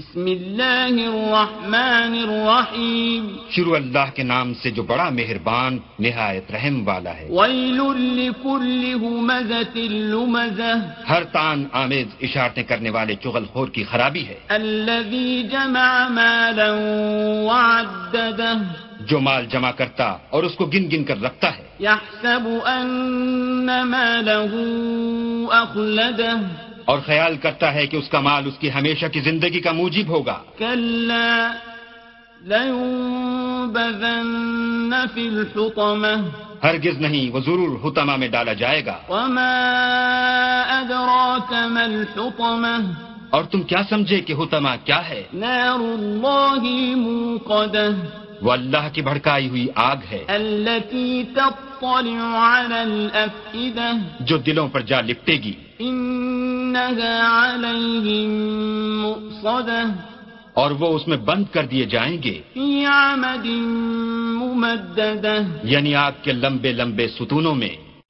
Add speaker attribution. Speaker 1: بسم الله الرحمن الرحيم
Speaker 2: शुरू अल्लाह के नाम से जो बड़ा मेहरबान निहायत रहम वाला है
Speaker 1: ويل لكل همزة لمزة
Speaker 2: हर तान आमेज इशारतें करने वाले चुगलखोर की खराबी है
Speaker 1: الذي جمع مالا وعدده
Speaker 2: जो माल जमा करता और उसको गिन गिन कर रखता है
Speaker 1: يحسب أن ماله أخلده
Speaker 2: और ख्याल करता है कि उसका माल उसकी हमेशा की जिंदगी का मूजिब होगा
Speaker 1: كلا لينبذن في الحطمة
Speaker 2: हरगिज नहीं वो जरूर हुतमा में डाला जाएगा
Speaker 1: وما أدراك ما الحطمة
Speaker 2: और तुम क्या समझे कि हुतमा क्या है
Speaker 1: نار الله الموقدة
Speaker 2: वो अल्लाह की भड़काई हुई आग है
Speaker 1: التي تطلع على الأفئدة
Speaker 2: जो दिलों पर जा लिपटेगी
Speaker 1: إنها عليهم مؤصدة
Speaker 2: और वो उसमें बंद कर दिए जाएंगे
Speaker 1: في عمد ممددة
Speaker 2: یعنی यानी आग के लंबे लंबे सुतूनों में